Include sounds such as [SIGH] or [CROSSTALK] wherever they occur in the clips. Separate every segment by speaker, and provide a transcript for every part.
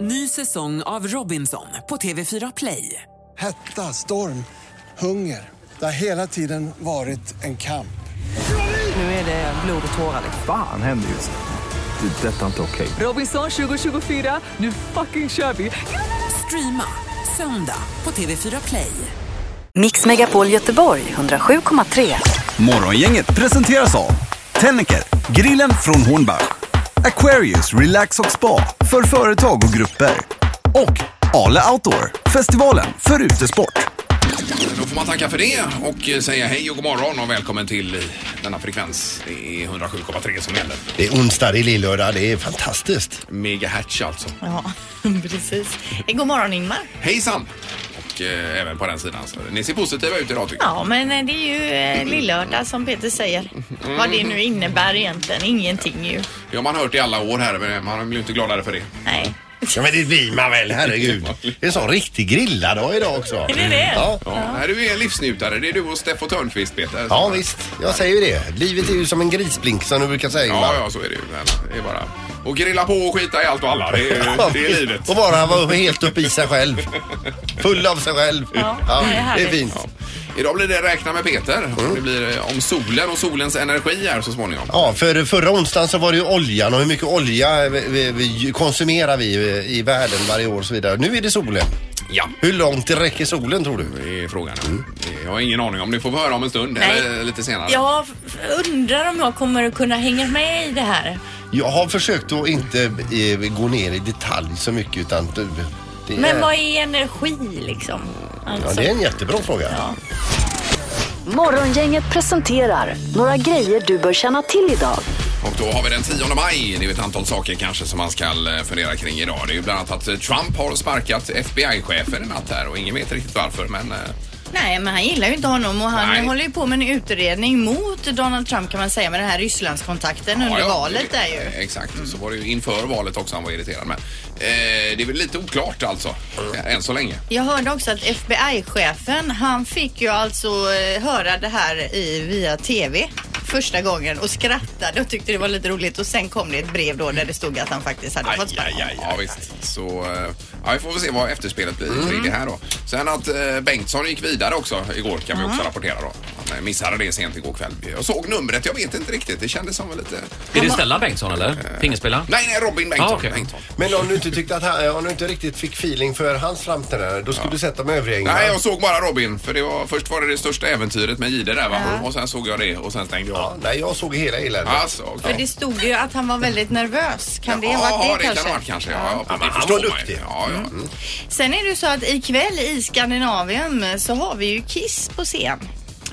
Speaker 1: Ny säsong av Robinson på TV4 Play.
Speaker 2: Hetta, storm, hunger. Det har hela tiden varit en kamp.
Speaker 1: Nu är det blod och tårar. liksom.
Speaker 3: Fan händer just nu. Det. är Detta är inte okej.
Speaker 1: Robinson 2024, nu fucking kör vi! Streama söndag på TV4 Play.
Speaker 4: Mix Megapol Göteborg 107,3.
Speaker 5: Morgongänget presenteras av Tennecker, grillen från Hornbach. Aquarius Relax och Spa för företag och grupper. Och Ale Outdoor, festivalen för utesport.
Speaker 6: Då får man tacka för det och eh, säga hej och god morgon och välkommen till eh, denna frekvens. Det är 107,3 som gäller.
Speaker 7: Det är onsdag, det är lillördag, det är fantastiskt.
Speaker 6: Megahertz alltså.
Speaker 8: Ja, precis. God morgon Ingmar.
Speaker 6: Hejsan! Och eh, även på den sidan. Så ni ser positiva ut idag tycker jag.
Speaker 8: Ja, men eh, det är ju eh, lillördag som Peter säger. Vad det nu innebär egentligen, ingenting ju.
Speaker 6: Det har man hört i alla år här men man blir ju inte gladare för det.
Speaker 8: Nej. [LAUGHS]
Speaker 7: Ja men det blir man väl, herregud.
Speaker 6: [LAUGHS]
Speaker 7: Det är en sån riktig grilladag idag också.
Speaker 8: Är det det?
Speaker 7: Ja.
Speaker 6: Ja, Nej, du är en livsnjutare. Det är du och Steffo Törnqvist Peter.
Speaker 7: ja visst, jag säger ju det. Livet är ju som en grisblink som du brukar säga
Speaker 6: Ja,
Speaker 7: Ingmar.
Speaker 6: ja, så är det ju. Men det är bara och grilla på och skita i allt och alla. Det
Speaker 7: [LAUGHS]
Speaker 6: är, det är livet.
Speaker 7: Och bara vara helt uppe i sig själv. Full av sig själv.
Speaker 8: Ja, det är
Speaker 7: det
Speaker 8: härligt.
Speaker 7: är fint.
Speaker 6: Ja. Idag blir det räkna med Peter.
Speaker 7: Mm.
Speaker 6: Och Det blir eh, om solen och solens energi här så småningom.
Speaker 7: Ja, för förra onsdagen så var det ju oljan och hur mycket olja eh, vi, vi, vi konsumerar vi eh, i världen varje år och så vidare. Nu är det solen.
Speaker 6: Ja.
Speaker 7: Hur långt räcker solen tror du?
Speaker 6: Det är frågan. Jag har ingen aning om det. får vi höra om en stund
Speaker 8: Nej.
Speaker 6: eller lite senare.
Speaker 8: Jag f- undrar om jag kommer att kunna hänga med i det här.
Speaker 7: Jag har försökt att inte eh, gå ner i detalj så mycket utan du, det är,
Speaker 8: Men vad är energi liksom?
Speaker 7: ja,
Speaker 8: Alltså,
Speaker 7: det är en jättebra fråga.
Speaker 4: Morgongänget presenterar några grejer du bör känna till idag.
Speaker 6: Och då har vi den 10 maj. Det är ett antal saker kanske som man ska eh, fundera kring idag. Det är ju bland annat att eh, Trump har sparkat FBI-chefen i natt här och ingen vet riktigt varför. Men eh,
Speaker 8: Nej, men han gillar ju inte honom och han
Speaker 6: Nej.
Speaker 8: håller ju på med en utredning mot Donald Trump kan man säga med den här Rysslandskontakten
Speaker 6: ja,
Speaker 8: under
Speaker 6: ja,
Speaker 8: valet
Speaker 6: det-
Speaker 8: där ju.
Speaker 6: eh, Exakt. Så var det ju inför valet också han var irriterad med. Eh, det är väl lite oklart alltså, än så länge.
Speaker 8: Jag hörde också att FBI-chefen, han fick ju alltså eh, höra det här i, via TV första gången och skrattade och tyckte det var lite roligt och sen kom det ett brev då där det stod att han faktiskt hade fått sparken.
Speaker 6: Ja, visst. Så eh, ja, vi får väl se vad efterspelet blir
Speaker 8: Mm.
Speaker 6: kring det här då. Sen att eh, Bengtsson gick vidare också igår kan vi
Speaker 8: Mm.
Speaker 6: också rapportera då. Han eh, missade det sent igår kväll. Jag såg numret, jag vet inte riktigt. Det kändes som en lite...
Speaker 9: Är det Stella Bengtsson eller?
Speaker 10: Eh.
Speaker 9: Pingespelaren?
Speaker 6: Nej, nej, Robin Bengtsson.
Speaker 9: Ah, okej.
Speaker 6: Bengtsson.
Speaker 7: Men om du inte tyckte att han, eh, om du inte riktigt fick feeling för hans framträdande då skulle du sätta med övriga Ingmar.
Speaker 6: Nej, jag såg bara Robin. För det var, först var det det största äventyret med Jihde där va? Och sen såg jag det och sen stängde jag
Speaker 7: ja,
Speaker 6: av.
Speaker 7: nej, jag såg hela eländet.
Speaker 6: Alltså, okej.
Speaker 8: För det stod ju att han var väldigt nervös. Kan det ha
Speaker 6: Ja,
Speaker 8: varit det,
Speaker 6: kan
Speaker 8: kanske?
Speaker 6: ha varit kanske. Ja, ja,
Speaker 7: men
Speaker 6: det
Speaker 7: han
Speaker 6: förstår
Speaker 7: var
Speaker 6: Mm. man ju.
Speaker 7: duktig.
Speaker 6: Ja, ja.
Speaker 8: Sen är det ju så att ikväll i Skandinavien så har vi ju Kiss på scen.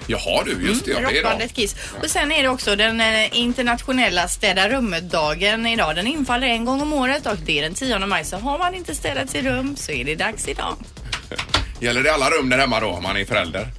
Speaker 6: Jaha du, just det. Ja, det är idag.
Speaker 8: Mm. Rockbandet Kiss. Och sen är det också den eh, internationella städa rummet-dagen idag. Den infaller en gång om året och det är den 10 maj. Så har man inte städat sitt rum så är det dags idag.
Speaker 6: Gäller det alla rum där hemma då om man är förälder?
Speaker 8: Alltså,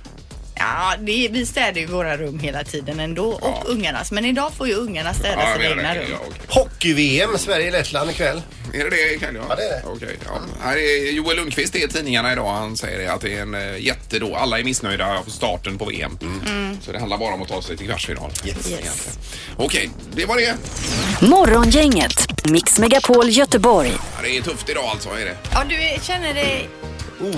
Speaker 8: Ja, det, vi städar ju våra rum hela tiden ändå och ungarnas. Men idag får ju ungarna städa
Speaker 6: jag
Speaker 8: sina
Speaker 6: menar
Speaker 8: egna
Speaker 6: det.
Speaker 8: rum.
Speaker 6: Ja, okej.
Speaker 7: Hockey-VM, Sverige-Lettland ikväll.
Speaker 6: Är det det ikväll?
Speaker 7: Ja, det är det.
Speaker 6: Okej, ja. Här är Joel Lundqvist är i tidningarna idag. Han säger att det är en eh, jätte då. Alla är missnöjda av starten på VM.
Speaker 7: Mm.
Speaker 8: Mm.
Speaker 6: Så det handlar bara om att ta sig till kvartsfinal. Egentligen. Okej, det var det.
Speaker 4: Morgongänget, Mix Megapol Göteborg.
Speaker 6: Ja, det är tufft idag alltså. Är det.
Speaker 8: Ja, du är- känner dig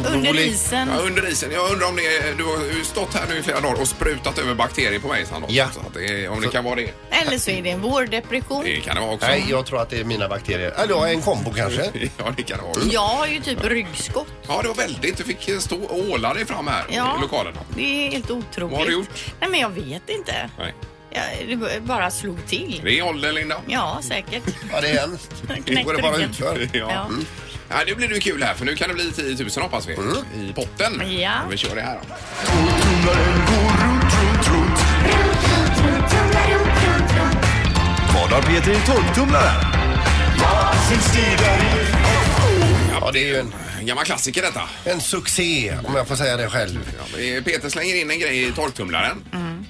Speaker 8: under isen.
Speaker 6: Ja, under isen. Jag undrar om det är, Du har ju stått här nu i flera dagar och sprutat över bakterier på mig, Sandor.
Speaker 7: Ja.
Speaker 6: Så att det är, om det kan vara det.
Speaker 8: Eller så är det en vårdepression.
Speaker 6: Det kan det vara också.
Speaker 7: Nej, jag tror att det är mina bakterier. Eller ja, en kombo kanske.
Speaker 6: [LAUGHS] Ja, det kan det vara.
Speaker 8: Jag har ju typ ryggskott.
Speaker 6: Ja, det var väldigt. Du fick stå och åla dig fram här
Speaker 8: Ja.
Speaker 6: i lokalen.
Speaker 8: Det är helt otroligt.
Speaker 6: Vad har du gjort?
Speaker 8: Nej, men jag vet inte.
Speaker 6: Nej.
Speaker 8: Jag, det b- bara slog till.
Speaker 6: Det är åldern, Linda.
Speaker 8: Ja, säkert.
Speaker 7: Ja, det är hemskt.
Speaker 8: Knäckt
Speaker 7: går det bara
Speaker 8: ryggen.
Speaker 7: utför.
Speaker 8: Ja.
Speaker 6: Ja, nu blir det ju kul här för nu kan det bli 10 000 hoppas vi
Speaker 7: Mm.
Speaker 6: i potten.
Speaker 8: Ja.
Speaker 6: Vi kör det här då.
Speaker 5: Vad har Peter i torktumlaren?
Speaker 7: Ja, det är ju en,
Speaker 6: En gammal klassiker detta.
Speaker 7: en succé om jag får säga det själv.
Speaker 6: Ja, men Peter slänger in en grej i torktumlaren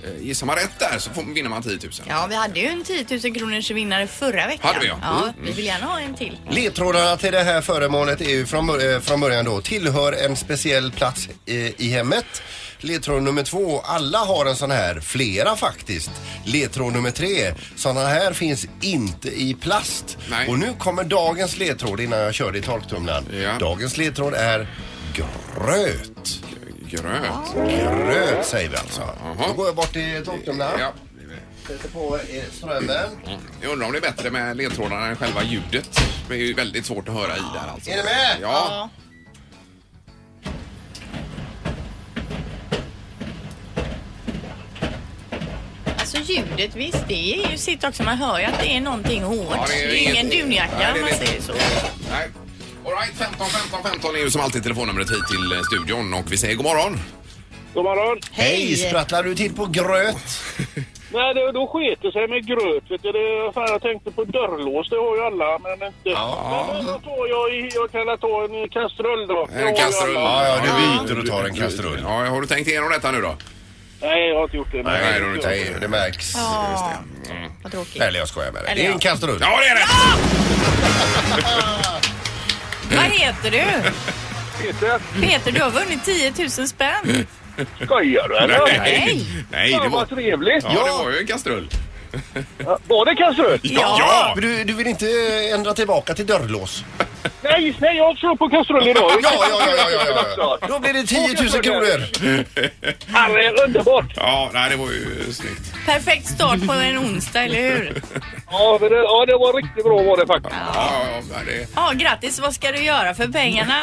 Speaker 6: Eh, Gissar man rätt där så får, vinner man 10 000.
Speaker 8: Mm. Ja, vi hade ju en 10 000 kronors vinnare förra veckan.
Speaker 6: Hade vi, ja.
Speaker 8: Vi vill gärna ha en till.
Speaker 7: Ledtrådarna till det här föremålet är ju från, bör- eh, från början då tillhör en speciell plats i, i hemmet. Ledtråd nummer två, alla har en sån här, flera faktiskt. Ledtråd nummer tre, såna här finns inte i plast.
Speaker 6: Nej.
Speaker 7: Och nu kommer dagens ledtråd innan jag kör i torktumlaren.
Speaker 6: Ja.
Speaker 7: Dagens ledtråd är gröt.
Speaker 6: Gröt.
Speaker 7: Gröt säger vi alltså.
Speaker 6: Jaha.
Speaker 7: Då går jag bort till torktumlaren.
Speaker 6: Ja.
Speaker 7: Sätter på eh, strömmen.
Speaker 6: Jag undrar om det är bättre med ledtrådarna än själva ljudet. Det är ju väldigt svårt att höra i där alltså.
Speaker 7: Är ni med?
Speaker 6: Ja.
Speaker 8: Alltså ljudet, visst det är ju sitt också. Man hör ju att det är någonting hårt.
Speaker 6: Ja,
Speaker 8: det, är ingen
Speaker 6: inget-
Speaker 8: dunjacka
Speaker 6: Nej,
Speaker 8: om
Speaker 6: det är
Speaker 8: man
Speaker 6: det.
Speaker 8: säger så.
Speaker 6: Nej. All right, 15 15 15 är ju som alltid telefonnumret hit till eh, studion och vi säger god morgon.
Speaker 10: God morgon.
Speaker 7: Hej, sprattlar du till på gröt?
Speaker 10: Nej, det, då sket det sig med gröt. Vet du. Det, fan, jag tänkte på dörrlås, det har ju alla, men inte... Men då tar jag, i- jag kan ta en kastrull då. Det har
Speaker 6: En
Speaker 10: ju
Speaker 6: kastrull.
Speaker 10: alla.
Speaker 7: Ja, ja, du byter och tar en kastrull.
Speaker 6: Ja, har du tänkt igenom detta nu då?
Speaker 10: Nej, jag har inte gjort det. men-
Speaker 6: Nej, det har du inte.
Speaker 7: Nej, det märks.
Speaker 8: Ja, vad tråkigt.
Speaker 7: Eller jag skojar med dig.
Speaker 8: Eller
Speaker 7: Det är
Speaker 8: ja.
Speaker 7: en kastrull.
Speaker 6: Ja, det är rätt!
Speaker 8: Vad heter du?
Speaker 10: Peter,
Speaker 8: Peter, du har vunnit 10 000 spänn.
Speaker 10: Skojar du eller?
Speaker 8: Nej.
Speaker 6: Nej, det
Speaker 10: Fan
Speaker 6: var...
Speaker 10: vad trevligt.
Speaker 6: Ja, det var ju en kastrull.
Speaker 10: Var det kastrull?
Speaker 6: Ja!
Speaker 7: Men du, du vill inte ändra tillbaka till dörrlås?
Speaker 10: Nej, nej, jag kör på kastrull idag.
Speaker 7: Ja, ja, ja, ja, ja, ja, ja. Då blir det 10 000 kronor.
Speaker 10: Herre, underbart.
Speaker 6: Ja, nej, det var ju snyggt.
Speaker 8: Perfekt start på en onsdag, eller hur?
Speaker 10: Ja, men det, ja, det var riktigt bra var det faktiskt.
Speaker 6: Ja, ja, ja, det...
Speaker 8: Ja, grattis. Vad ska du göra för pengarna?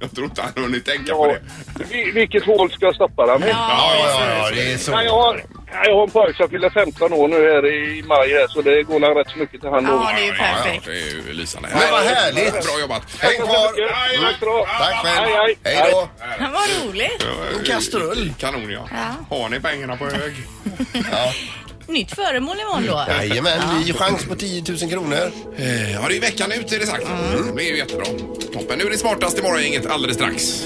Speaker 6: Jag tror inte han hunnit tänka på
Speaker 10: Ja,
Speaker 6: det.
Speaker 10: vi- vilket hål ska jag stoppa den i?
Speaker 7: Ja, ja, ja, ja, det är så.
Speaker 10: Nej, jag, har, nej, jag har en pojk som fyller 15 år nu här i maj här, så det går väl rätt så mycket till han då.
Speaker 8: Ja, det är ju perfekt.
Speaker 6: Ja, det är ju lysande.
Speaker 7: Men vad härligt.
Speaker 6: Bra jobbat.
Speaker 7: Häng kvar.
Speaker 10: Hej,
Speaker 7: Mm.
Speaker 10: tack så bra.
Speaker 7: Tack
Speaker 10: Hej,
Speaker 7: själv.
Speaker 10: hej.
Speaker 7: Hej då.
Speaker 8: Vad roligt.
Speaker 7: En kastrull.
Speaker 6: Kanon, ja. Har ni pengarna på hög?
Speaker 8: Nytt föremål imorgon då.
Speaker 7: Jajamän, ny chans på 10 000 kronor.
Speaker 6: Eh, Ja, det är veckan ut är det sagt. Det är ju jättebra. Toppen. Nu är det smartast i morgongänget alldeles strax.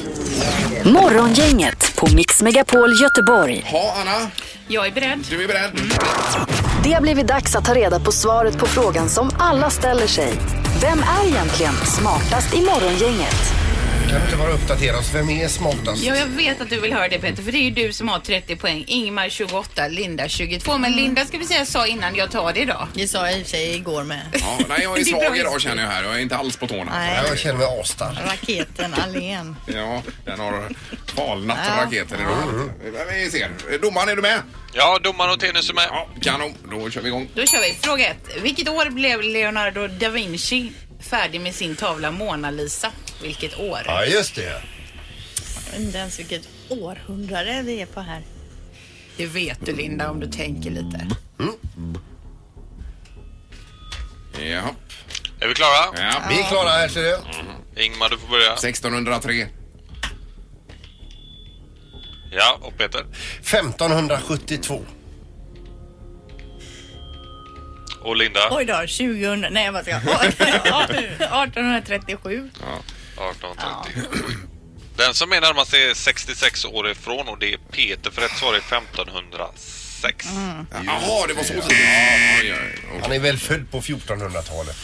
Speaker 4: Morgongänget på Mix Megapol Göteborg.
Speaker 6: Ja, Anna,
Speaker 8: Jag är beredd.
Speaker 6: du är beredd?
Speaker 4: Det har blivit dags att ta reda på svaret på frågan som alla ställer sig. Vem är egentligen smartast i morgongänget?
Speaker 7: Kan du inte bara uppdatera oss? Vem är smartast?
Speaker 11: Ja, jag vet att du vill höra det Peter, för det är ju du som har 30 poäng. Ingmar 28, Linda 22. Men Linda ska vi säga sa innan jag tar det idag.
Speaker 8: Det Mm. sa jag i och för sig igår med.
Speaker 6: Ja, nej,
Speaker 8: [LAUGHS]
Speaker 6: jag är
Speaker 11: Det är bra
Speaker 6: svag idag känner jag här. Jag är inte alls på tårna.
Speaker 8: Nej.
Speaker 7: Jag känner mig asstark.
Speaker 8: Raketen Allén.
Speaker 6: Ja, den har falnat som raketen idag. Men Vi ser. Domaren, är du med?
Speaker 12: Ja, domaren och Tenus är med.
Speaker 6: Ja, kanon. Då kör vi igång.
Speaker 11: [LAUGHS] Då kör vi. Fråga ett. Vilket år blev Leonardo da Vinci färdig med sin tavla Mona Lisa? Vilket år?
Speaker 7: Ja, just det.
Speaker 8: Jag vet inte ens vilket århundrade vi är på här.
Speaker 11: Det vet du Linda om du tänker lite.
Speaker 6: Ja.
Speaker 12: Är vi klara?
Speaker 6: ja.
Speaker 7: Vi är klara här, ser du.
Speaker 12: Ingmar, du får börja.
Speaker 6: 1603.
Speaker 12: Ja, och Peter.
Speaker 7: 1572.
Speaker 12: Och Linda.
Speaker 8: Oj då, 2000... Nej, jag [LAUGHS] bara
Speaker 11: [LAUGHS]
Speaker 8: ska... 1837.
Speaker 12: 1830. Den som är närmast är 66 år ifrån och det är Peter för rätt svar är 1506.
Speaker 6: Jaha, det var så tidigt. Ja, ja, ja.
Speaker 7: Han är väl född på 1400-talet.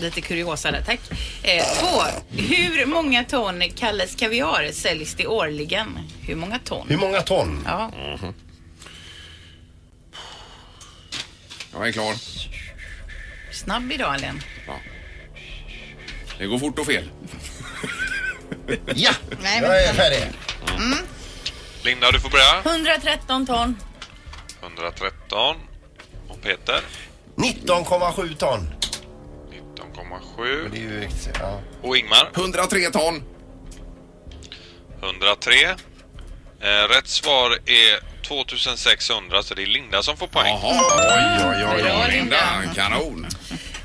Speaker 11: Lite kuriosa där, tack. Eh, två. Hur många ton Kalles Kaviar säljs det årligen? Hur många ton?
Speaker 7: Hur många ton?
Speaker 11: Ja,
Speaker 6: Jag är klar.
Speaker 11: snabb idag Allén.
Speaker 6: Det går fort och fel.
Speaker 11: [LAUGHS]
Speaker 7: Ja,
Speaker 8: Nej,
Speaker 7: jag är
Speaker 8: vänta.
Speaker 7: färdig.
Speaker 12: Linda, du får börja.
Speaker 8: 113 ton.
Speaker 12: 113. Och Peter.
Speaker 7: 19,7 ton.
Speaker 12: 19,7.
Speaker 7: Det är ju riktigt. Ja.
Speaker 12: Och Ingmar.
Speaker 6: 103 ton.
Speaker 12: 103. Eh, rätt svar är 2600 så det är Linda som får poäng.
Speaker 6: Jaha, oj, oj, oj,
Speaker 11: Bra,
Speaker 6: oj.
Speaker 11: Linda.
Speaker 6: Linda. Kanon.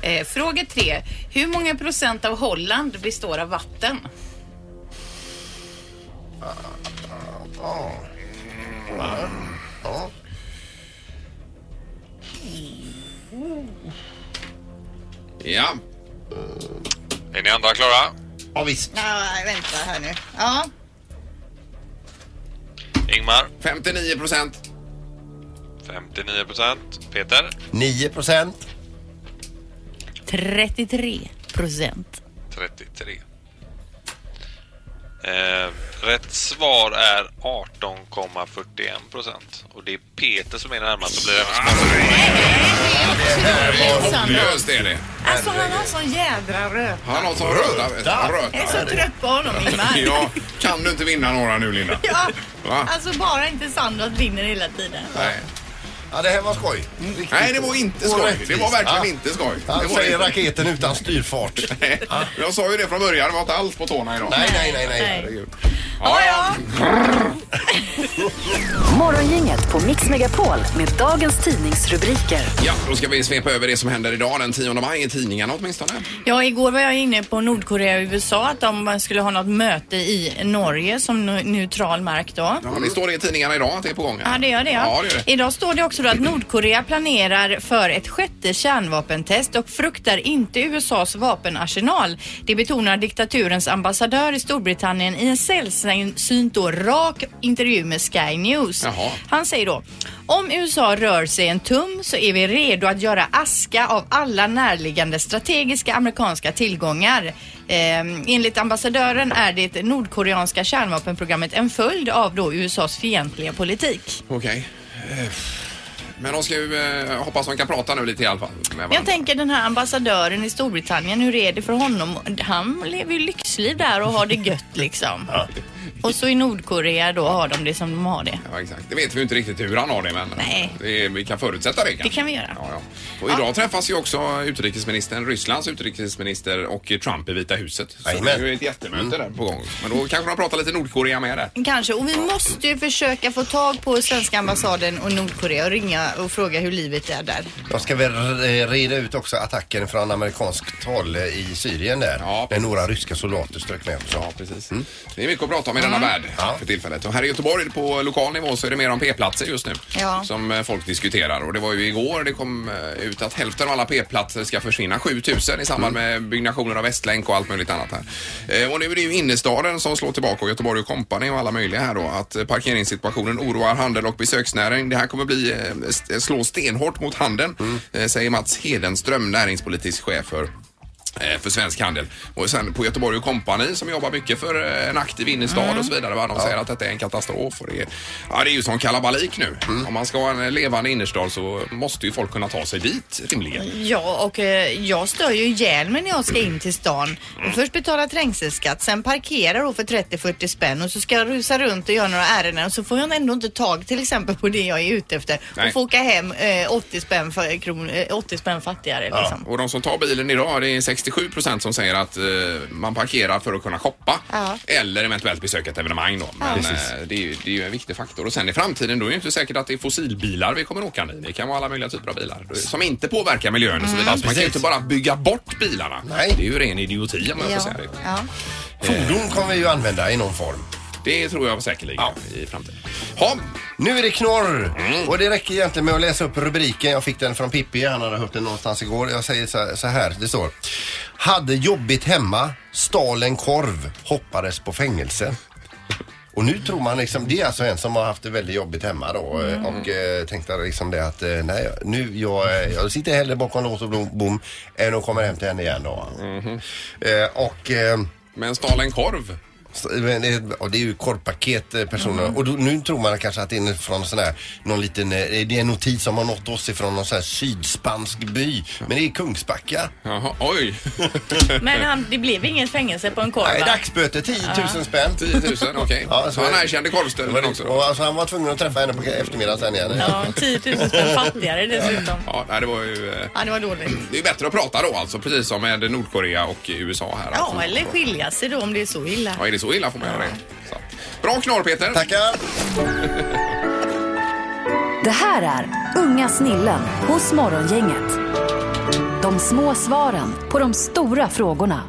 Speaker 11: Eh, fråga tre. Hur många procent av Holland består av vatten?
Speaker 6: Ja.
Speaker 12: Är ni andra klara?
Speaker 7: ja, visst.
Speaker 8: Nej, vänta här nu. Ja,
Speaker 12: Ingmar,
Speaker 6: 59 procent.
Speaker 12: 59 procent. Peter?
Speaker 7: 9 procent.
Speaker 8: 33 procent.
Speaker 12: 33. Eh, rätt svar är 18,41 procent. Och det är Peter som är närmast och blir även
Speaker 6: Hopplöst är det.
Speaker 8: Alltså han har sån jädra röta.
Speaker 6: Han har sån röta.
Speaker 8: Jag är så trött på honom Ingmar.
Speaker 6: [LAUGHS] Ja, kan du inte vinna några nu Linda?
Speaker 8: [LAUGHS] Ja.
Speaker 6: Va?
Speaker 8: Alltså bara inte Sandra vinner hela tiden.
Speaker 6: Nej.
Speaker 7: Ja, det här var skoj.
Speaker 6: Nej, det var inte skoj.
Speaker 7: Orättvist.
Speaker 6: Det var verkligen
Speaker 7: Ja.
Speaker 6: inte skoj.
Speaker 7: Han
Speaker 6: det var
Speaker 7: säger
Speaker 6: det.
Speaker 7: raketen utan
Speaker 6: [LAUGHS]
Speaker 7: styrfart.
Speaker 6: Ja. Jag sa ju det från början, det var inte alls på tårna idag.
Speaker 7: Nej, nej, nej, nej. Nej.
Speaker 6: Herregud. Ja, ja.
Speaker 4: Morgongänget på Mix Megapol med dagens tidningsrubriker.
Speaker 6: ja, då ska vi svepa över det som händer idag den 10 maj i tidningarna åtminstone.
Speaker 8: Ja, igår var jag inne på Nordkorea och USA att de skulle ha något möte i Norge som nu- neutral mark då.
Speaker 6: Ja, det står det i tidningarna idag att det är på gång.
Speaker 8: Ja, det gör det. Ja.
Speaker 6: Ja, det gör
Speaker 8: [LAUGHS]
Speaker 6: det.
Speaker 8: Idag står det också då att Nordkorea planerar för ett sjätte kärnvapentest och fruktar inte USAs vapenarsenal. Det betonar diktaturens ambassadör i Storbritannien i en sällsynt och rak intervju med Sky News.
Speaker 13: Jaha.
Speaker 8: Han säger då om USA rör sig en tum så är vi redo att göra aska av alla närliggande strategiska amerikanska tillgångar. Eh, enligt ambassadören är det nordkoreanska kärnvapenprogrammet en följd av då USAs fientliga politik.
Speaker 6: Okej. Eh, Men de ska ju eh, hoppas de kan prata nu lite i alla fall. Med varandra.
Speaker 8: Men jag tänker den här ambassadören i Storbritannien, hur är det för honom? Han lever ju lyxliv där och har det gött liksom. Och så i Nordkorea då har de det som de har det.
Speaker 6: Ja, exakt. Det vet vi ju inte riktigt hur han har det men eh,
Speaker 8: Nej.
Speaker 6: det är, vi kan förutsätta det
Speaker 8: Det
Speaker 6: kanske.
Speaker 8: kan vi göra.
Speaker 6: Ja, ja. Och idag träffas ju också utrikesministern, Rysslands utrejsminister och Trump i Vita huset. Så det är ju ett jättemöte där på gång. Men då kanske de pratar lite Nordkorea med där.
Speaker 8: Kanske. Och vi måste ju försöka få tag på svenska ambassaden och Nordkorea och ringa och fråga hur livet är där.
Speaker 7: De ska väl eh, reda ut också attacken från amerikanskt håll eh, i Syrien där. där några ryska soldater strök med också.
Speaker 6: Ja, precis. Mm. Det är mycket att prata om i denna värld för tillfället. Och här i Göteborg på lokal nivå så är det mer om p-platser just nu
Speaker 8: Ja.
Speaker 6: som eh, folk diskuterar. Och det var ju igår det kom eh, ut att hälften av alla p-platser ska försvinna, 7000 i samband med byggnationen av Västlänk och allt möjligt annat här. Eh, Och nu är det ju innerstaden som slår tillbaka och Göteborg och kompani och alla möjliga här då att eh, parkeringssituationen oroar handel och besöksnäring. Det här kommer bli eh, st- slå stenhårt mot handeln, eh, säger Mats Hedenström, näringspolitisk chef för eh, för svensk handel. Och sen på Göteborg och Company som jobbar mycket för eh, en aktiv innerstad och så vidare. Va? De säger att detta är en katastrof. Och det, är, ja, det är ju sån kalabalik nu. Om man ska ha en eh, levande innerstad så måste ju folk kunna ta sig dit rimligen.
Speaker 8: Ja, och eh, jag stör ju ihjäl mig när jag ska in till stan. Först betala trängselskatt, sen parkera då för 30-40 spänn och så ska jag rusa runt och göra några ärenden och så får jag ändå inte tag till exempel på det jag är ute efter
Speaker 6: Nej.
Speaker 8: och får åka hem eh, 80 spänn, för, kron, eh, 80 spänn fattigare liksom.
Speaker 6: Och de som tar bilen idag, det är 67 procent som säger att eh, man parkerar för att kunna shoppa
Speaker 8: Ja.
Speaker 6: eller eventuellt besöka ett evenemang då. Men
Speaker 7: Precis.
Speaker 6: eh, det, är ju, det är ju en viktig faktor. Och sen i framtiden, då är det ju inte säkert att det är fossilbilar vi kommer åka i. Det kan vara alla möjliga typer av bilar som inte påverkar miljön och så
Speaker 7: Mm.
Speaker 6: vidare. Så man kan ju inte bara bygga bort bilarna. Nej. Det är ju ren idioti om jag får säga det. [LAUGHS]
Speaker 8: Ja.
Speaker 7: Fordon kommer vi ju använda i någon form.
Speaker 6: Det tror jag säkerligen i framtiden. Ha.
Speaker 7: Nu är det knorr! Och det räcker egentligen med att läsa upp rubriken. Jag fick den från Pippi, han hade hört den någonstans igår. Jag säger så så här, det står. Hade jobbigt hemma, stal en korv, hoppades på fängelse. Och nu tror man liksom, det är alltså en som har haft det väldigt jobbigt hemma då eh, och eh, tänkte liksom det att eh, nej, nu jag, eh, jag sitter hellre bakom lås och bom, bom än att komma hem till henne igen då. Eh, och... Eh,
Speaker 6: Men stal en korv?
Speaker 7: Men det, och det är ju korvpaket eh, personer. Och då, nu tror man kanske att det är från sån här, någon liten, eh, det är en notis som har nått oss ifrån någon sån här sydspansk by. Men det är Kungsbacka.
Speaker 6: Jaha,
Speaker 7: [LAUGHS]
Speaker 6: oj.
Speaker 8: Men han, det blev inget fängelse på en korv
Speaker 7: Nej,
Speaker 8: va?
Speaker 7: dagsböter 10 000 spänn.
Speaker 6: 10 000, okej.
Speaker 7: Ja,
Speaker 6: så han erkände
Speaker 7: Det var
Speaker 6: korvstölden
Speaker 7: det.
Speaker 6: också.
Speaker 7: Och alltså, han var tvungen att träffa henne på eftermiddagen sen igen.
Speaker 8: Ja, 10 000 spänn fattigare dessutom.
Speaker 6: Ja, nej, det var ju... eh,
Speaker 8: Ja, det var dåligt.
Speaker 6: Det är bättre att prata då alltså, precis som med Nordkorea och USA här.
Speaker 8: Ja,
Speaker 6: alltså.
Speaker 8: eller skilja sig då om det är så illa.
Speaker 6: Ja, är det så illa får man göra det. Så. att- Bra knorr Peter!
Speaker 7: Tackar!
Speaker 4: Det här är Unga snillen hos Morgongänget. De små svaren på de stora frågorna.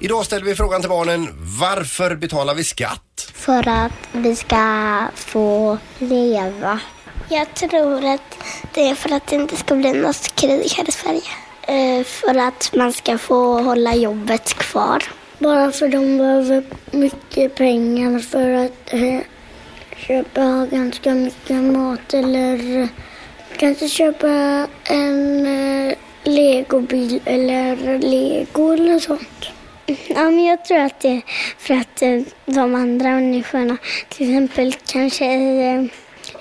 Speaker 7: Idag ställer vi frågan till barnen. Varför betalar vi skatt?
Speaker 14: För att vi ska få leva. Jag tror att det är för att det inte ska bli något krig här i Sverige. Eh, För att man ska få hålla jobbet kvar. Bara för de behöver mycket pengar för att köpa ganska mycket mat eller Kanske köpa en eh, legobil eller lego eller något sånt. Ja, men jag tror att det är för att eh, de andra människorna, till exempel kanske i eh,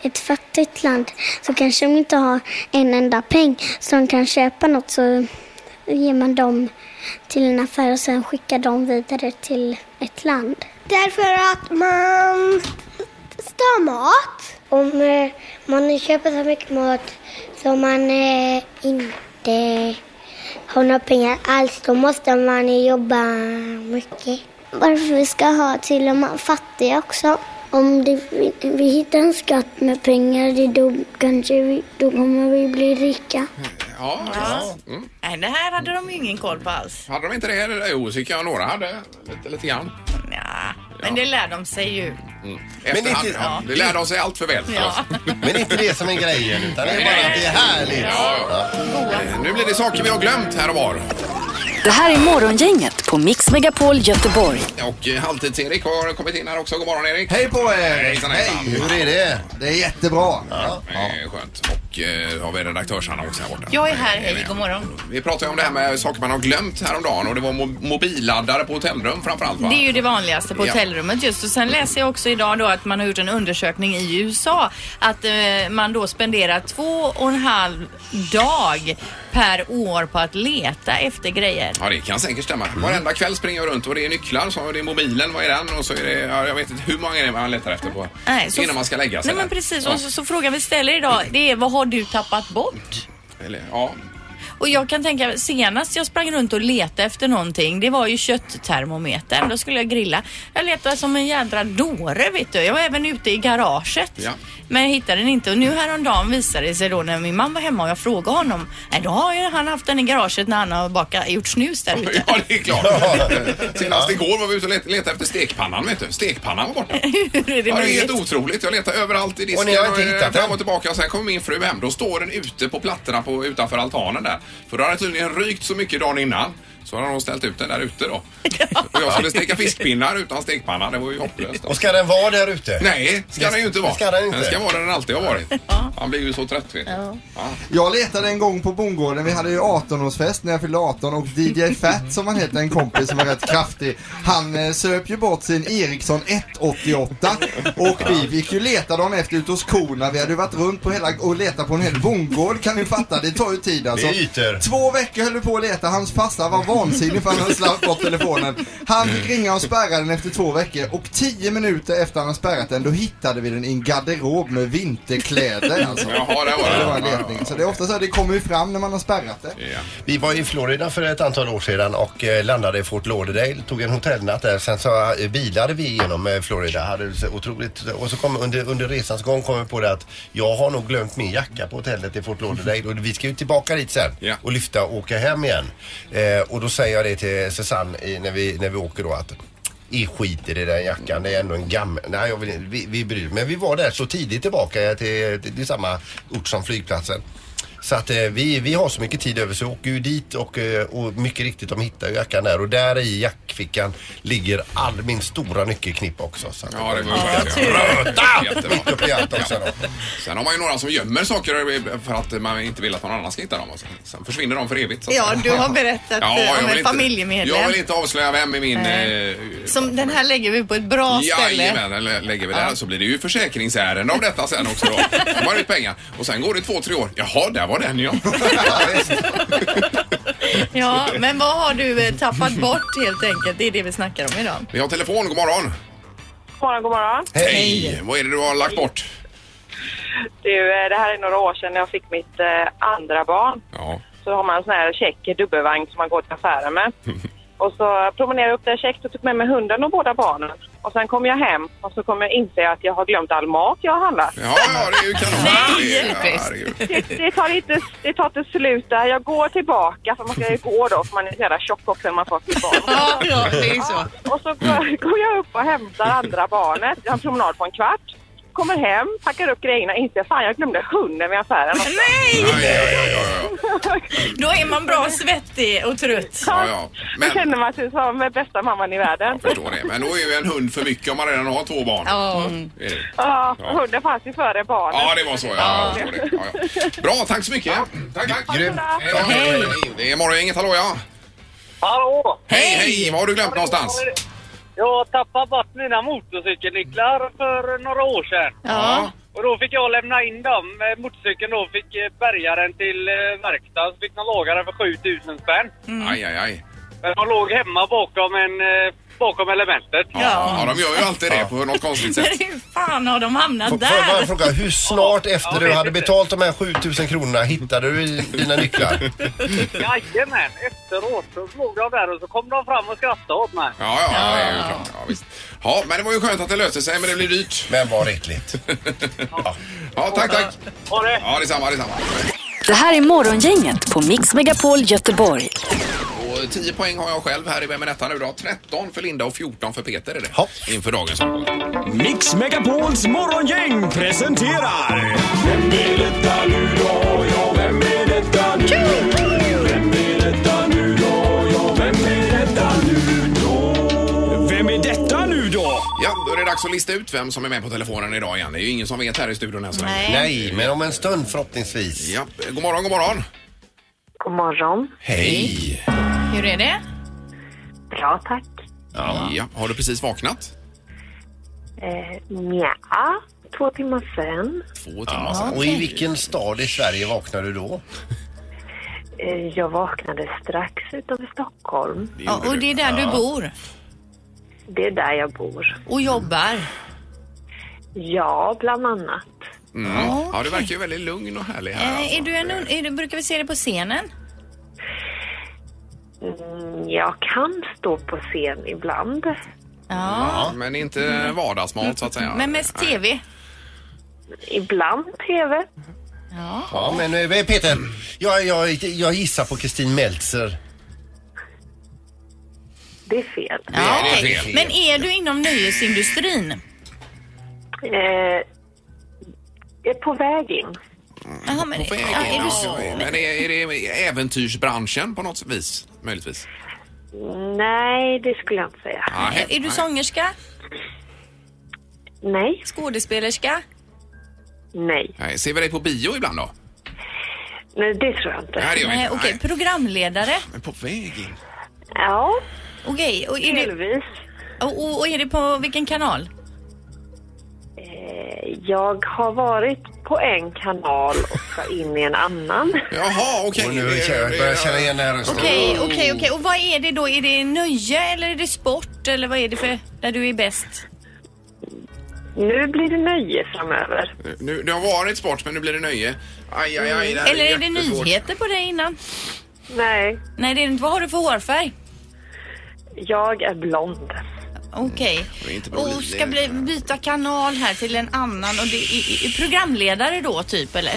Speaker 14: ett fattigt land, så kanske de inte har en enda peng så de kan köpa något så ger man dem till en affär och sen skickar de vidare till ett land. Därför att man stör mat. Om eh, man köper så mycket mat som man eh, inte har några pengar alls, då måste man jobba mycket. Varför vi ska ha till de fattiga också? Om det, vi, vi hittar en skatt med pengar, det då, kanske vi, då kommer vi bli rika.
Speaker 6: Ja,
Speaker 8: Ja.
Speaker 6: visst. Mm.
Speaker 8: Nej, det här hade de ju ingen koll på alls.
Speaker 6: Hade de inte det? Eller? Jo, så tycker jag några hade. Lite, lite grann.
Speaker 8: Men det lär de sig ju.
Speaker 6: Mm. Efterhand.
Speaker 7: inte-
Speaker 6: ja. Det lärde de sig allt för väl.
Speaker 8: Ja.
Speaker 7: Men inte det som är grejen, utan det är bara att det är härligt.
Speaker 6: Ja, ja. Eh, Nu blir det saker vi har glömt här och var.
Speaker 4: Det här är Morgongänget på Mix Megapol Göteborg.
Speaker 6: Och eh, Halvtids-Erik har kommit in här också. God morgon Erik!
Speaker 13: Hej på er!
Speaker 6: Hejsan, hejsan.
Speaker 13: Hej, hur är det? Det är jättebra. Ja.
Speaker 6: Eh, Skönt. Och eh, har vi redaktörs-Hanna också här borta. Eh,
Speaker 11: Jag är här, hej, god morgon.
Speaker 6: Vi pratade ju om det här med saker man har glömt häromdagen och det var mo- mobilladdare på hotellrum framförallt va?
Speaker 11: Det är ju det vanligaste på
Speaker 6: Ja.
Speaker 11: hotellrummet just. Och sen läser jag också idag då att man har gjort en undersökning i USA att eh, man då spenderar två och en halv dag per år på att leta efter grejer.
Speaker 6: Ja, det kan säkert stämma. Varenda kväll springer jag runt och det är nycklar, så det är mobilen, vad är den? Och så är det, ja, jag vet inte hur många grejer man letar efter på
Speaker 11: Nej, så-
Speaker 6: innan man ska lägga sig.
Speaker 11: Nej men
Speaker 6: där.
Speaker 11: precis.
Speaker 6: Ja.
Speaker 11: Och så, så frågan vi ställer idag det är vad har du tappat bort?
Speaker 6: Eller, ja.
Speaker 11: Och jag kan tänka, senast jag sprang runt och letade efter någonting, det var ju kötttermometern. Då skulle jag grilla. Jag letade som en jädra dåre vet du. Jag var även ute i garaget.
Speaker 6: Ja.
Speaker 11: Men jag hittade den inte och nu häromdagen visade det sig då när min man var hemma och jag frågade honom. Nej, då har ju han haft den i garaget när han har bakat, gjort snus där ute.
Speaker 6: [LAUGHS] ja, det är klart. Senast igår var vi ute och let- letade efter stekpannan, vet du. Stekpannan var borta.
Speaker 11: [LAUGHS] [LAUGHS] Hur är det
Speaker 6: Ja, det är
Speaker 11: möjligt?
Speaker 6: helt otroligt. Jag letar överallt i disken
Speaker 7: Och ni har inte
Speaker 6: eh,
Speaker 7: hittat
Speaker 6: fram
Speaker 7: den?
Speaker 6: och tillbaka. Och sen kommer min fru hem. Då står den ute på plattorna på, utanför altanen där. För då har den tydligen rykt så mycket dagen innan. Så har hon ställt ut den där
Speaker 11: [LAUGHS]
Speaker 6: ute då. Och jag skulle steka fiskpinnar utan stekpanna. Det var ju hopplöst.
Speaker 7: Och ska den vara där ute?
Speaker 6: Nej, ska den ju inte vara.
Speaker 7: Ska den inte?
Speaker 6: ska vara där den alltid har varit. Han blir ju så trött vet du. Ja.
Speaker 13: Jag letade en gång på bondgården, vi hade ju 18-årsfest när jag fyllde 18 och DJ Fat som han hette, en kompis som var rätt kraftig, han eh, söp ju bort sin Ericsson 188 och vi fick ju leta dagen efter ute hos korna, vi hade ju varit runt på hela och letat på en hel bondgård kan ni fatta, det tar ju tid alltså.
Speaker 7: Det är ytor.
Speaker 13: Två veckor höll vi på att leta, hans farsa var vansinnig för han hade slarvat bort telefonen. Han fick ringa och spärra den efter två veckor och tio minuter efter han hade spärrat den då hittade vi den i en garderob med vinterkläder alltså.
Speaker 6: Jaha, det var det.
Speaker 13: det var en letning. Så det är ofta så här, det kommer ju fram när man har spärrat det.
Speaker 7: Vi var i Florida för ett antal år sedan och eh, landade i Fort Lauderdale, tog en hotellnatt där. Sen så eh, bilade vi genom eh, Florida. Hade det så otroligt. Och så kom under, under resans gång kom vi på det att jag har nog glömt min jacka på hotellet i Fort Lauderdale och vi ska ju tillbaka dit sen och lyfta och åka hem igen. Eh, och då säger jag det till Susanne i, när, vi, när vi åker då att i skit i den där jackan. Det är ändå en gammal... Nej, jag vill, inte- vi, vi bryr Men vi var där så tidigt tillbaka eh, till, till, till samma ort som flygplatsen. Så att eh, vi, vi har så mycket tid över så vi åker ju dit och, eh, och mycket riktigt de hittar ju jackan där och där i jackfickan ligger all min stora nyckelknippa också. Så att
Speaker 6: Ja, det var
Speaker 7: Ja,
Speaker 6: skönt.
Speaker 7: tur.
Speaker 6: Jättebra.
Speaker 7: Mitt uppe i allt också då.
Speaker 6: Sen har man ju några som gömmer saker för att man inte vill att någon annan ska hitta dem. och så- Sen försvinner de för evigt. så att-
Speaker 8: Ja, du har berättat eh,
Speaker 6: Mm. jag
Speaker 8: om
Speaker 6: vill
Speaker 8: en
Speaker 6: inte-
Speaker 8: familjemedlem.
Speaker 6: Jag vill inte avslöja vem i min...
Speaker 8: Nej.
Speaker 6: Eh,
Speaker 8: Som den här lägger vi på ett bra ställe.
Speaker 6: Jajamän, eller lägger vi det här så blir det ju försäkringsärende av detta sen också då.
Speaker 8: [LAUGHS]
Speaker 6: Det var ju pengar. Och sen går det två, tre år. Jaha, där var den ja.
Speaker 11: Ja, men vad har du eh, tappat bort helt enkelt? Det är det vi snackar om idag.
Speaker 6: Vi har telefon, god morgon.
Speaker 15: God morgon, god morgon.
Speaker 6: Hej! Vad är det du har lagt bort?
Speaker 15: Du, eh, det här är några år sedan när jag fick mitt eh, andra barn.
Speaker 6: Ja.
Speaker 15: Så har man en sån här check dubbelvagn som man går till affären med. Och så promenerade jag upp där käckt och tog med mig hunden och båda barnen. Och sen kom jag hem och så kom jag inse att jag har glömt all mat jag har handlat.
Speaker 6: Ja, ja, det är ju kanon. Nej,
Speaker 15: Det, det, tar inte, det tar inte slut där. Jag går tillbaka, för man ska ju gå då, för man är så jävla tjock också när man får sitt barn.
Speaker 11: Ja, det är så.
Speaker 15: Och så går- går jag upp och hämtar andra barnet. Jag har en promenad på en kvart. Kommer hem, packar upp grejerna, inser fan jag glömde hunden vid affären.
Speaker 11: Nej!
Speaker 6: Ja, ja, ja, ja.
Speaker 8: Då är man bra svettig och trött.
Speaker 6: Ja, ja.
Speaker 8: Men...
Speaker 6: Då
Speaker 8: känner
Speaker 15: man sig som bästa mamman i världen.
Speaker 6: Förstår det. Men då är ju en hund för mycket om man redan har två barn.
Speaker 8: Ja.
Speaker 6: Är det?
Speaker 15: Ja,
Speaker 6: Ja.
Speaker 15: hunden fanns ju före barnet.
Speaker 6: Ja, det var så. Ja, jag förstår det. Ja, ja. Bra, tack så mycket. Tack, tack. Grymt. Hej. Hej. Det är morgongänget. Hallå, ja.
Speaker 16: Hallå!
Speaker 6: Hej, hej. Vad har du glömt någonstans?
Speaker 16: Jag tappade bort mina motorcykelnycklar för några år sedan.
Speaker 6: Ja.
Speaker 16: Och då fick jag lämna in dem. Eh, Motorcykeln då fick eh, bärgaren till eh, verkstad. Så fick de laga den för 7000 spänn.
Speaker 6: Aj, aj, aj.
Speaker 16: Men de låg hemma bakom, en, eh, bakom elementet.
Speaker 6: Ja, de gör ju alltid det på något konstigt sätt.
Speaker 8: Hur fan har de hamnat
Speaker 7: Får jag bara
Speaker 8: där?
Speaker 7: fråga, hur snart efter
Speaker 16: jag
Speaker 7: du
Speaker 16: vet
Speaker 7: hade
Speaker 16: inte.
Speaker 7: betalt de här 7000 kronorna hittade du dina nycklar?
Speaker 16: Jajamän, efteråt så låg de där och så kom de fram och skrattade åt mig.
Speaker 6: Ja, ja, det är ju klart. Ja, visst. ja, men det var ju skönt att det löste sig, men det blev dyrt.
Speaker 7: Men var rättligt.
Speaker 6: ja. ja, tack, tack.
Speaker 16: Ha det.
Speaker 6: Ja, detsamma, detsamma.
Speaker 4: Det här är Morgongänget på Mix Megapol Göteborg.
Speaker 6: Och 10 poäng har jag själv här i Vem är detta nu då? 13 för Linda och 14 för Peter är det. Inför dagens omgång.
Speaker 17: Mix Megapols morgongäng presenterar... Vem är detta nu då? Ja, vem är detta nu? Vem är detta nu då? Ja, vem är detta nu då? Vem är detta nu då?
Speaker 6: Ja, då är det dags att lista ut vem som är med på telefonen idag igen. Det är ju ingen som vet här i studion än så länge.
Speaker 7: Nej, men om en stund förhoppningsvis.
Speaker 6: Ja, god morgon, god morgon.
Speaker 18: God morgon.
Speaker 6: Hej!
Speaker 8: Hur är det?
Speaker 18: Bra, tack.
Speaker 6: Ja. har du precis vaknat?
Speaker 18: Eh, nja, två timmar sen.
Speaker 6: Två
Speaker 18: timmar sedan.
Speaker 7: Alltså, Och i vilken stad i Sverige vaknade du då?
Speaker 18: Eh, jag vaknade strax utanför Stockholm.
Speaker 8: Ja, och det är där du bor
Speaker 18: Det är där jag bor.
Speaker 8: och jobbar.
Speaker 18: Ja, bland annat.
Speaker 6: Mm.
Speaker 8: Ja,
Speaker 6: Ja, du verkar ju väldigt lugn och härlig här.
Speaker 8: Eh,
Speaker 6: alltså.
Speaker 8: är du en, un- är du, brukar vi se dig på scenen?
Speaker 18: Mm, Jag kan stå på scen ibland.
Speaker 6: Ja, men inte vardagsmat så att säga.
Speaker 8: Men mest TV?
Speaker 18: Ibland TV.
Speaker 7: Ja, men eh, Peter, jag, jag, jag gissar på Kristin Meltzer.
Speaker 18: Det är fel.
Speaker 8: Ja, okej. Men är du inom nöjesindustrin?
Speaker 18: Eh, jag är på väg in.
Speaker 8: Jaha, men,
Speaker 6: På
Speaker 8: ja,
Speaker 6: vägen,
Speaker 8: är du så?
Speaker 6: ja. Men är, är det äventyrsbranschen på något vis? Möjligtvis?
Speaker 18: Nej, det skulle jag inte säga.
Speaker 6: Nej.
Speaker 8: Eh, Är du sångerska?
Speaker 18: Nej.
Speaker 8: Skådespelerska?
Speaker 18: Nej.
Speaker 6: Nej. Ser vi dig på bio ibland då?
Speaker 18: Nej, det tror jag inte.
Speaker 6: Nej, det gör vi
Speaker 8: Nej,
Speaker 6: inte.
Speaker 8: okej. Programledare?
Speaker 6: Men på vägen?
Speaker 18: Ja.
Speaker 8: Okej. och är
Speaker 18: Delvis.
Speaker 8: Det, och, och, och är det på vilken kanal?
Speaker 18: Eh, Jag har varit på en kanal och ska in i en annan.
Speaker 6: Jaha, okej.
Speaker 7: Och nu känner jag börjar känna igen den här rösten.
Speaker 8: Okej,
Speaker 6: Mm.
Speaker 8: okej, okej. Och vad är det då? Är det nöje eller är det sport eller vad är det för där du är bäst?
Speaker 18: Nu blir det nöje framöver.
Speaker 6: Nu, det har varit sport, men nu blir det nöje. Aj, aj, aj. här
Speaker 8: eller är det
Speaker 6: jättesvårt.
Speaker 8: nyheter på dig innan?
Speaker 18: Nej.
Speaker 8: Nej, det är det inte. Vad har du för hårfärg?
Speaker 18: Jag är blond.
Speaker 8: Okej.
Speaker 6: Det är inte bra
Speaker 8: Och
Speaker 6: liv.
Speaker 8: ska bli, byta kanal här till en annan och det är, är programledare då typ eller?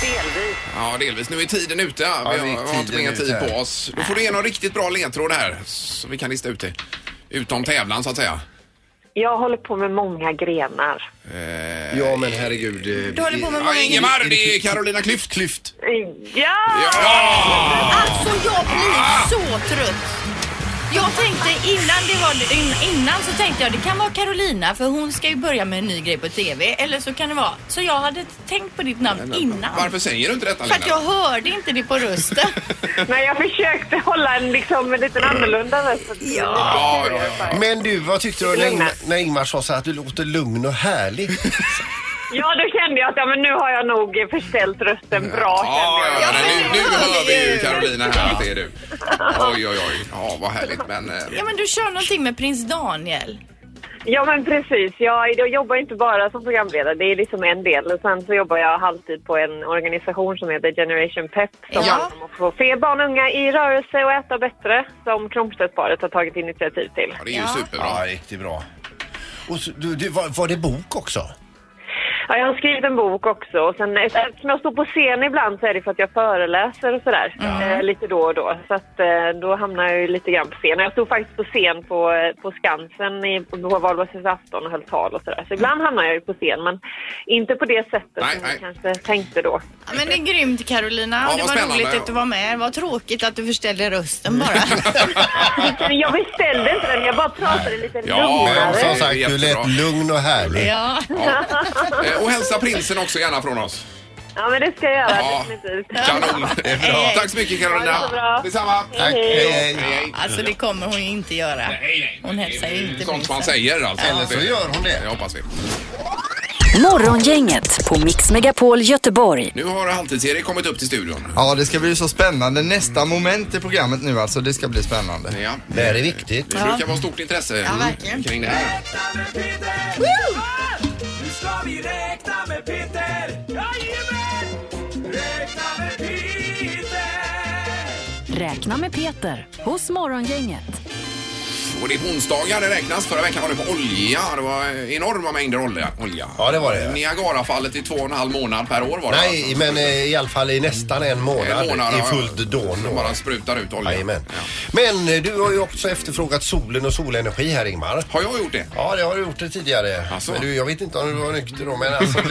Speaker 18: Delvis.
Speaker 6: Ja, delvis. Nu är tiden ute. vi har,
Speaker 7: nu är
Speaker 6: har inte
Speaker 7: tiden
Speaker 6: mer
Speaker 7: ute
Speaker 6: tid
Speaker 7: här.
Speaker 6: på oss. Då får du ge någon riktigt bra ledtråd här, så vi kan lista ut det. Utom tävlan, så att säga.
Speaker 18: Jag håller på med många grenar.
Speaker 7: Ja, men herregud. eh,
Speaker 18: Du håller på med
Speaker 7: eh,
Speaker 18: många-
Speaker 7: ah,
Speaker 6: Ingemar, det är Carolina Klüft. Klüft.
Speaker 18: Ja!
Speaker 8: Alltså jag blir så trött. Jag tänkte innan det var in, innan så tänkte jag det kan vara Carolina för hon ska ju börja med en ny grej på TV eller så kan det vara så jag hade tänkt på ditt namn innan.
Speaker 6: Varför säger du inte detta,
Speaker 8: För att jag
Speaker 6: Linda?
Speaker 8: hörde inte det på
Speaker 18: [LAUGHS]
Speaker 8: rösten.
Speaker 18: Men jag försökte hålla en liksom en liten annorlunda röst.
Speaker 6: Ja, ja, ja.
Speaker 7: Men du, vad tyckte du när, Ingmar- när Ingmar sa så här att du låter lugn och [LAUGHS] härlig?
Speaker 18: Ja, då kände jag att ja, men nu har jag nog förställt rösten bra. kände jag.
Speaker 6: Ja, men nu, nu hör vi ju Carolina här att det är du. Oj, oj, oj. Ja, vad härligt. Men, eh,
Speaker 8: Ja men du kör någonting med prins Daniel.
Speaker 18: Ja, men precis. Jag, jag jobbar inte bara som programledare. Det är liksom en del. Och sen så jobbar jag halvtid på en organisation som heter Generation Pep som
Speaker 8: Ja.
Speaker 18: handlar om att få fler barn och unga i rörelse och äta bättre som Kronstedtparet har tagit initiativ till.
Speaker 6: det är ju superbra.
Speaker 7: Ja, riktigt bra. Och så, du, du, var, var det bok också?
Speaker 18: Ja, jag har skrivit en bok också. Och sen, eh, eftersom jag står på scen ibland så är det för att jag föreläser och sådär. Eh, lite då och då. Så att, eh, då hamnar jag ju lite grann på scen. Och Jag stod faktiskt på scen på, eh, på Skansen i, på valborgsmässoafton och höll tal och sådär. Så ibland hamnar jag ju på scen men inte på det sättet som jag kanske tänkte då.
Speaker 11: Ja, Men det är grymt Carolina.
Speaker 18: Ja,
Speaker 11: det
Speaker 18: vad
Speaker 11: var
Speaker 18: spännande.
Speaker 11: roligt att du var med. Vad tråkigt att du förställde rösten
Speaker 18: [LAUGHS]
Speaker 11: bara.
Speaker 18: Men jag beställde inte den, jag bara pratade lite lugnare.
Speaker 7: som sagt, du lät lugn och härlig.
Speaker 18: Ja.
Speaker 6: Eh, Och hälsa prinsen också gärna från oss.
Speaker 18: ja, men det ska jag göra
Speaker 6: Ja.
Speaker 18: definitivt.
Speaker 6: Kanon! Det är bra. Tack så mycket Carolina.
Speaker 18: Ha det så bra.
Speaker 6: Detsamma.
Speaker 18: Tack. Hej, hej.
Speaker 11: Alltså det kommer hon ju inte göra. Hon hälsar ju inte
Speaker 6: Sånt man
Speaker 11: prinsen.
Speaker 6: säger alltså.
Speaker 11: Eller så
Speaker 7: gör hon det.
Speaker 6: Jag hoppas vi.
Speaker 4: Morgongänget på Mix Megapol Göteborg.
Speaker 6: Nu har Halvtids-Erik kommit upp till studion.
Speaker 13: Ja, det ska bli så spännande. Nästa moment i programmet nu alltså, det ska bli spännande.
Speaker 6: Ja.
Speaker 7: Det här är viktigt.
Speaker 6: Det brukar vara stort intresse mm, kring det här.
Speaker 17: Nu ska vi räkna med Peter! Jajamän! Räkna med Peter!
Speaker 4: Räkna med Peter hos Morgongänget.
Speaker 6: Och det är på onsdagar det räknas. Förra veckan var det på olja. Det var eh, enorma mängder olja. olja.
Speaker 7: Ja, det var det.
Speaker 6: Niagarafallet i två och en halv månad per år var det.
Speaker 7: Nej,
Speaker 6: alltså.
Speaker 7: men eh, i alla fall i nästan en månad,
Speaker 6: En månad,
Speaker 7: i
Speaker 6: ja,
Speaker 7: fullt dån.
Speaker 6: Som bara sprutar ut olja.
Speaker 7: Jajamän. Men eh, du har ju också efterfrågat solen och solenergi här Ingmar.
Speaker 6: Har jag gjort det?
Speaker 7: Ja, det har du gjort det tidigare.
Speaker 6: Alltså.
Speaker 7: Men du, jag vet inte om du var nykter då, men alltså
Speaker 6: [LAUGHS]
Speaker 7: du,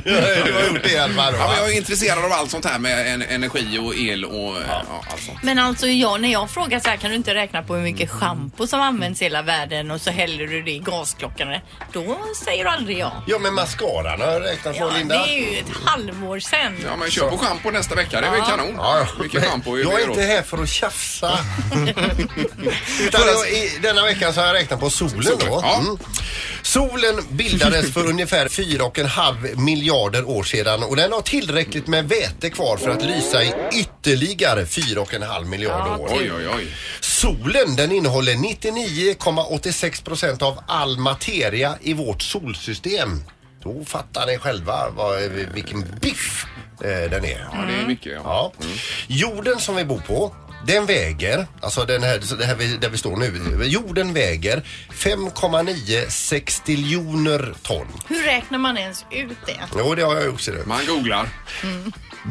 Speaker 7: [LAUGHS] du har gjort det i alla fall.
Speaker 6: Ja, men jag är intresserad av allt sånt här med en, energi och el och eh, ja, allt sånt.
Speaker 11: Men alltså jag, när jag frågar så här, kan du inte räkna på hur mycket schampo som används i hela världen och så häller du det i gasklockan? Då säger du aldrig ja.
Speaker 7: Ja, men mascaran har jag räknat på
Speaker 11: Ja, det
Speaker 7: Linda.
Speaker 11: är ju ett halvår sedan.
Speaker 6: Ja, men kör på schampo nästa vecka. Det är väl
Speaker 11: Ja.
Speaker 6: kanon.
Speaker 7: Ja,
Speaker 6: Mycket schampo ju
Speaker 7: jag
Speaker 6: mer
Speaker 7: är inte
Speaker 6: åt.
Speaker 7: här för att
Speaker 6: [LAUGHS]
Speaker 7: tjafsa. Utan jag, i, denna veckan så har jag räknat på solen då.
Speaker 6: Ja.
Speaker 7: Mm. Solen bildades
Speaker 6: [LAUGHS]
Speaker 7: för ungefär 4,5 miljarder år sedan och den har tillräckligt med väte kvar för att lysa i ytterligare 4,5 miljarder år.
Speaker 6: Oj, oj, oj.
Speaker 7: Solen den innehåller 99,86 procent av all materia i vårt solsystem. Då fattar ni själva vad, vilken biff eh, den är.
Speaker 6: Ja, det är mycket. Ja.
Speaker 7: Ja. Jorden som vi bor på, den väger, alltså den här, så det här vi, där vi står nu, jorden väger 5,9 sextiljoner ton.
Speaker 11: Hur räknar man ens ut det?
Speaker 7: Jo, det har jag också. Det.
Speaker 6: Man googlar.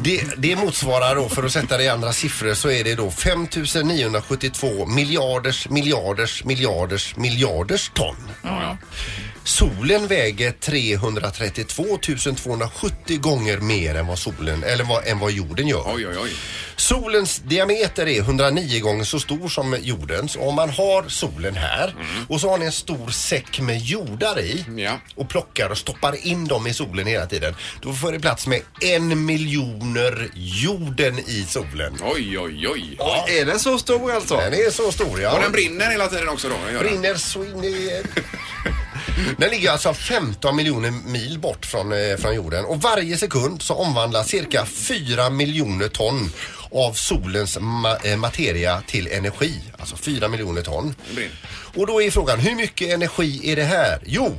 Speaker 7: Det, det motsvarar då, för att sätta det i andra siffror, så är det då 5972 miljarders miljarders miljarders miljarders ton. Solen väger 332 270 gånger mer än vad solen, eller vad, än vad jorden gör.
Speaker 6: Oj, oj, oj.
Speaker 7: Solens diameter är 109 gånger så stor som jordens. Och om man har solen här
Speaker 6: Mm.
Speaker 7: och så har ni en stor säck med jordar i och plockar och stoppar in dem i solen hela tiden. Då får det plats med en miljoner jorden i solen.
Speaker 6: Oj, oj, oj.
Speaker 7: Är den så stor alltså? Den är så stor ja.
Speaker 6: Och den brinner hela tiden också då? den gör den.
Speaker 7: Brinner så in i... [LAUGHS] Den ligger alltså 15 miljoner mil bort från, eh, från jorden och varje sekund så omvandlas cirka 4 miljoner ton av solens ma- eh, materia till energi. Alltså 4 miljoner ton.
Speaker 6: Den brinner.
Speaker 7: Och då är frågan, hur mycket energi är det här? Jo,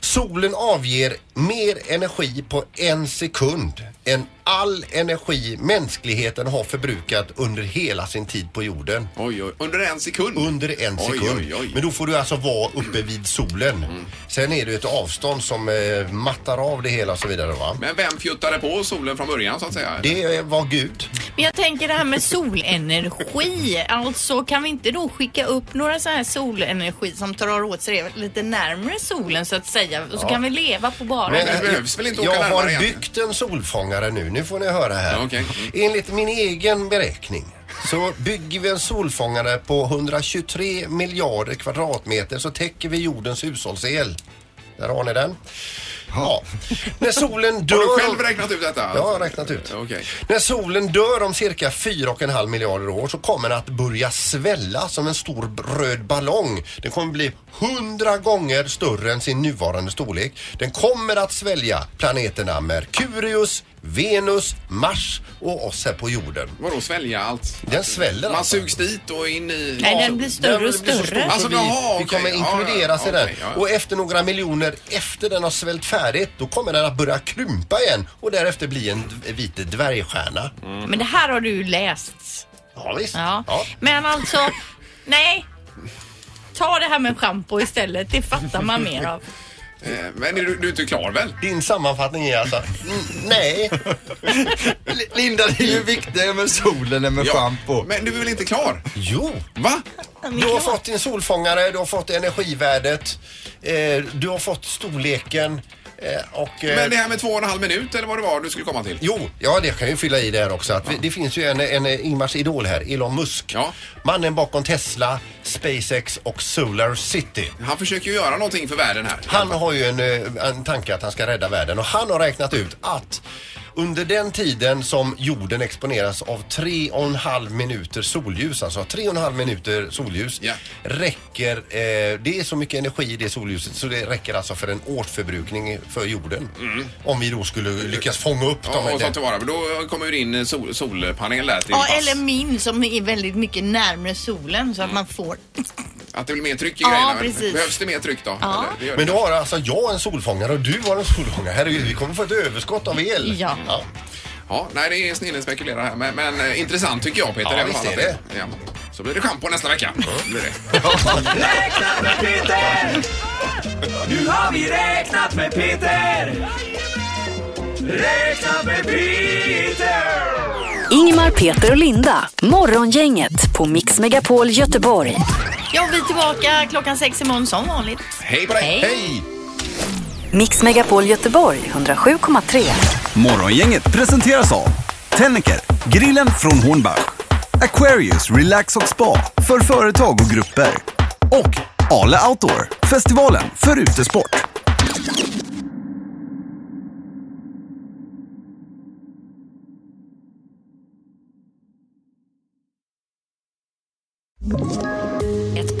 Speaker 7: solen avger mer energi på en sekund än all energi mänskligheten har förbrukat under hela sin tid på jorden.
Speaker 6: Oj, oj. Under en sekund?
Speaker 7: Under en
Speaker 6: Oj,
Speaker 7: sekund.
Speaker 6: oj, oj. Mm.
Speaker 7: Men då får du alltså vara uppe vid solen. Sen är det ju ett avstånd som eh, mattar av det hela och så vidare va.
Speaker 6: Men vem fjuttade på solen från början så att säga?
Speaker 7: Det var Gud.
Speaker 11: Men jag tänker det här med solenergi. Alltså kan vi inte då skicka upp några så här solenergi som tar åt sig det lite närmre solen så att säga. Och så
Speaker 7: Ja.
Speaker 11: kan vi leva på bara
Speaker 7: Men,
Speaker 11: det.
Speaker 7: eh, Jag har byggt en solfångare nu. Nu får ni höra här.
Speaker 6: Mm.
Speaker 7: Enligt min egen beräkning så bygger vi en solfångare på 123 miljarder kvadratmeter så täcker vi jordens hushållsel. Där har ni den. Ja. När solen dör...
Speaker 6: Har du själv räknat ut detta?
Speaker 7: Ja, jag har räknat ut.
Speaker 6: Okej.
Speaker 7: När solen dör om cirka 4,5 miljarder år så kommer den att börja svälla som en stor röd ballong. Den kommer bli 100 gånger större än sin nuvarande storlek. Den kommer att svälja planeterna Merkurius, Venus, Mars och oss här på jorden.
Speaker 6: Vadå svälja allt?
Speaker 7: Den sväller
Speaker 6: Man
Speaker 7: alltså.
Speaker 6: sugs dit och in i...
Speaker 7: Ja, den blir så stor så
Speaker 6: Alltså,
Speaker 7: vi,
Speaker 6: jaha,
Speaker 7: vi
Speaker 6: okej.
Speaker 7: kommer
Speaker 6: Ja,
Speaker 7: inkluderas
Speaker 6: ja,
Speaker 7: i den.
Speaker 6: okej, ja, ja.
Speaker 7: Och efter några miljoner, efter den har svällt färdigt, då kommer den att börja krympa igen och därefter bli en d- vit dvärgstjärna.
Speaker 11: Men det här har du läst.
Speaker 7: Ja, visst.
Speaker 11: Ja.
Speaker 7: Ja.
Speaker 11: Men alltså, nej. Ta det här med schampo istället. Det fattar man mer av.
Speaker 6: Eh, Men är du, du är inte klar väl?
Speaker 7: Din sammanfattning är alltså, nej.
Speaker 13: Linda, det är ju viktigare med solen än med schampo.
Speaker 6: Men du är väl inte klar?
Speaker 7: Jo.
Speaker 6: Va?
Speaker 7: Du har fått din solfångare, du har fått energivärdet, eh, du har fått storleken eh, och... eh,
Speaker 6: Men det här med två och en halv minut eller vad det var du skulle komma till?
Speaker 7: Jo, ja det kan jag ju fylla i där också. Att vi, det finns ju en, en Ingmars idol här, Elon Musk. Mannen bakom Tesla, SpaceX och Solar City.
Speaker 6: Han försöker ju göra någonting för världen här.
Speaker 7: Han har ju en, eh, en tanke att han ska rädda världen och han har räknat ut att under den tiden som jorden exponeras av tre och en halv minuter solljus, alltså tre och en halv minuter solljus, räcker, eh, det är så mycket energi i det solljuset så det räcker alltså för en årsförbrukning för jorden. Om vi då skulle lyckas fånga upp
Speaker 6: Mm. Ja,
Speaker 7: dem.
Speaker 6: och ta tillvara. Men då kommer ju din sol, solpanel där till
Speaker 8: Ja,
Speaker 6: pass.
Speaker 8: eller min som är väldigt mycket närmre solen så att man får...
Speaker 6: Att det blir mer tryck i
Speaker 8: Ja,
Speaker 6: grejerna. men
Speaker 8: precis.
Speaker 6: Behövs det mer tryck då?
Speaker 8: Ja.
Speaker 6: Eller, det gör det.
Speaker 7: Men då har alltså jag en solfångare och du har en solfångare. Herregud, vi kommer få ett överskott av el.
Speaker 8: Ja.
Speaker 7: ja.
Speaker 6: Ja, nej det är snillen spekulerar här. Men, men eh, intressant tycker jag Peter.
Speaker 7: Ja,
Speaker 6: i alla
Speaker 7: visst
Speaker 6: fall
Speaker 7: är
Speaker 6: att Ja. Så blir det schampo nästa vecka. Blir det.
Speaker 17: Räknat med Peter! Nu har vi räknat med Peter! Räknat med Peter!
Speaker 4: Ingmar, Peter och Linda. Morgongänget på Mix Megapol Göteborg.
Speaker 11: Ja, vi är tillbaka klockan sex imorgon som vanligt.
Speaker 6: Hej på
Speaker 11: dig! Hej!
Speaker 4: Mix Megapol Göteborg 107,3.
Speaker 5: Morgongänget presenteras av Tennicker, grillen från Hornbach, Aquarius Relax och Spa för företag och grupper och Ale Outdoor, festivalen för utesport.
Speaker 19: Ett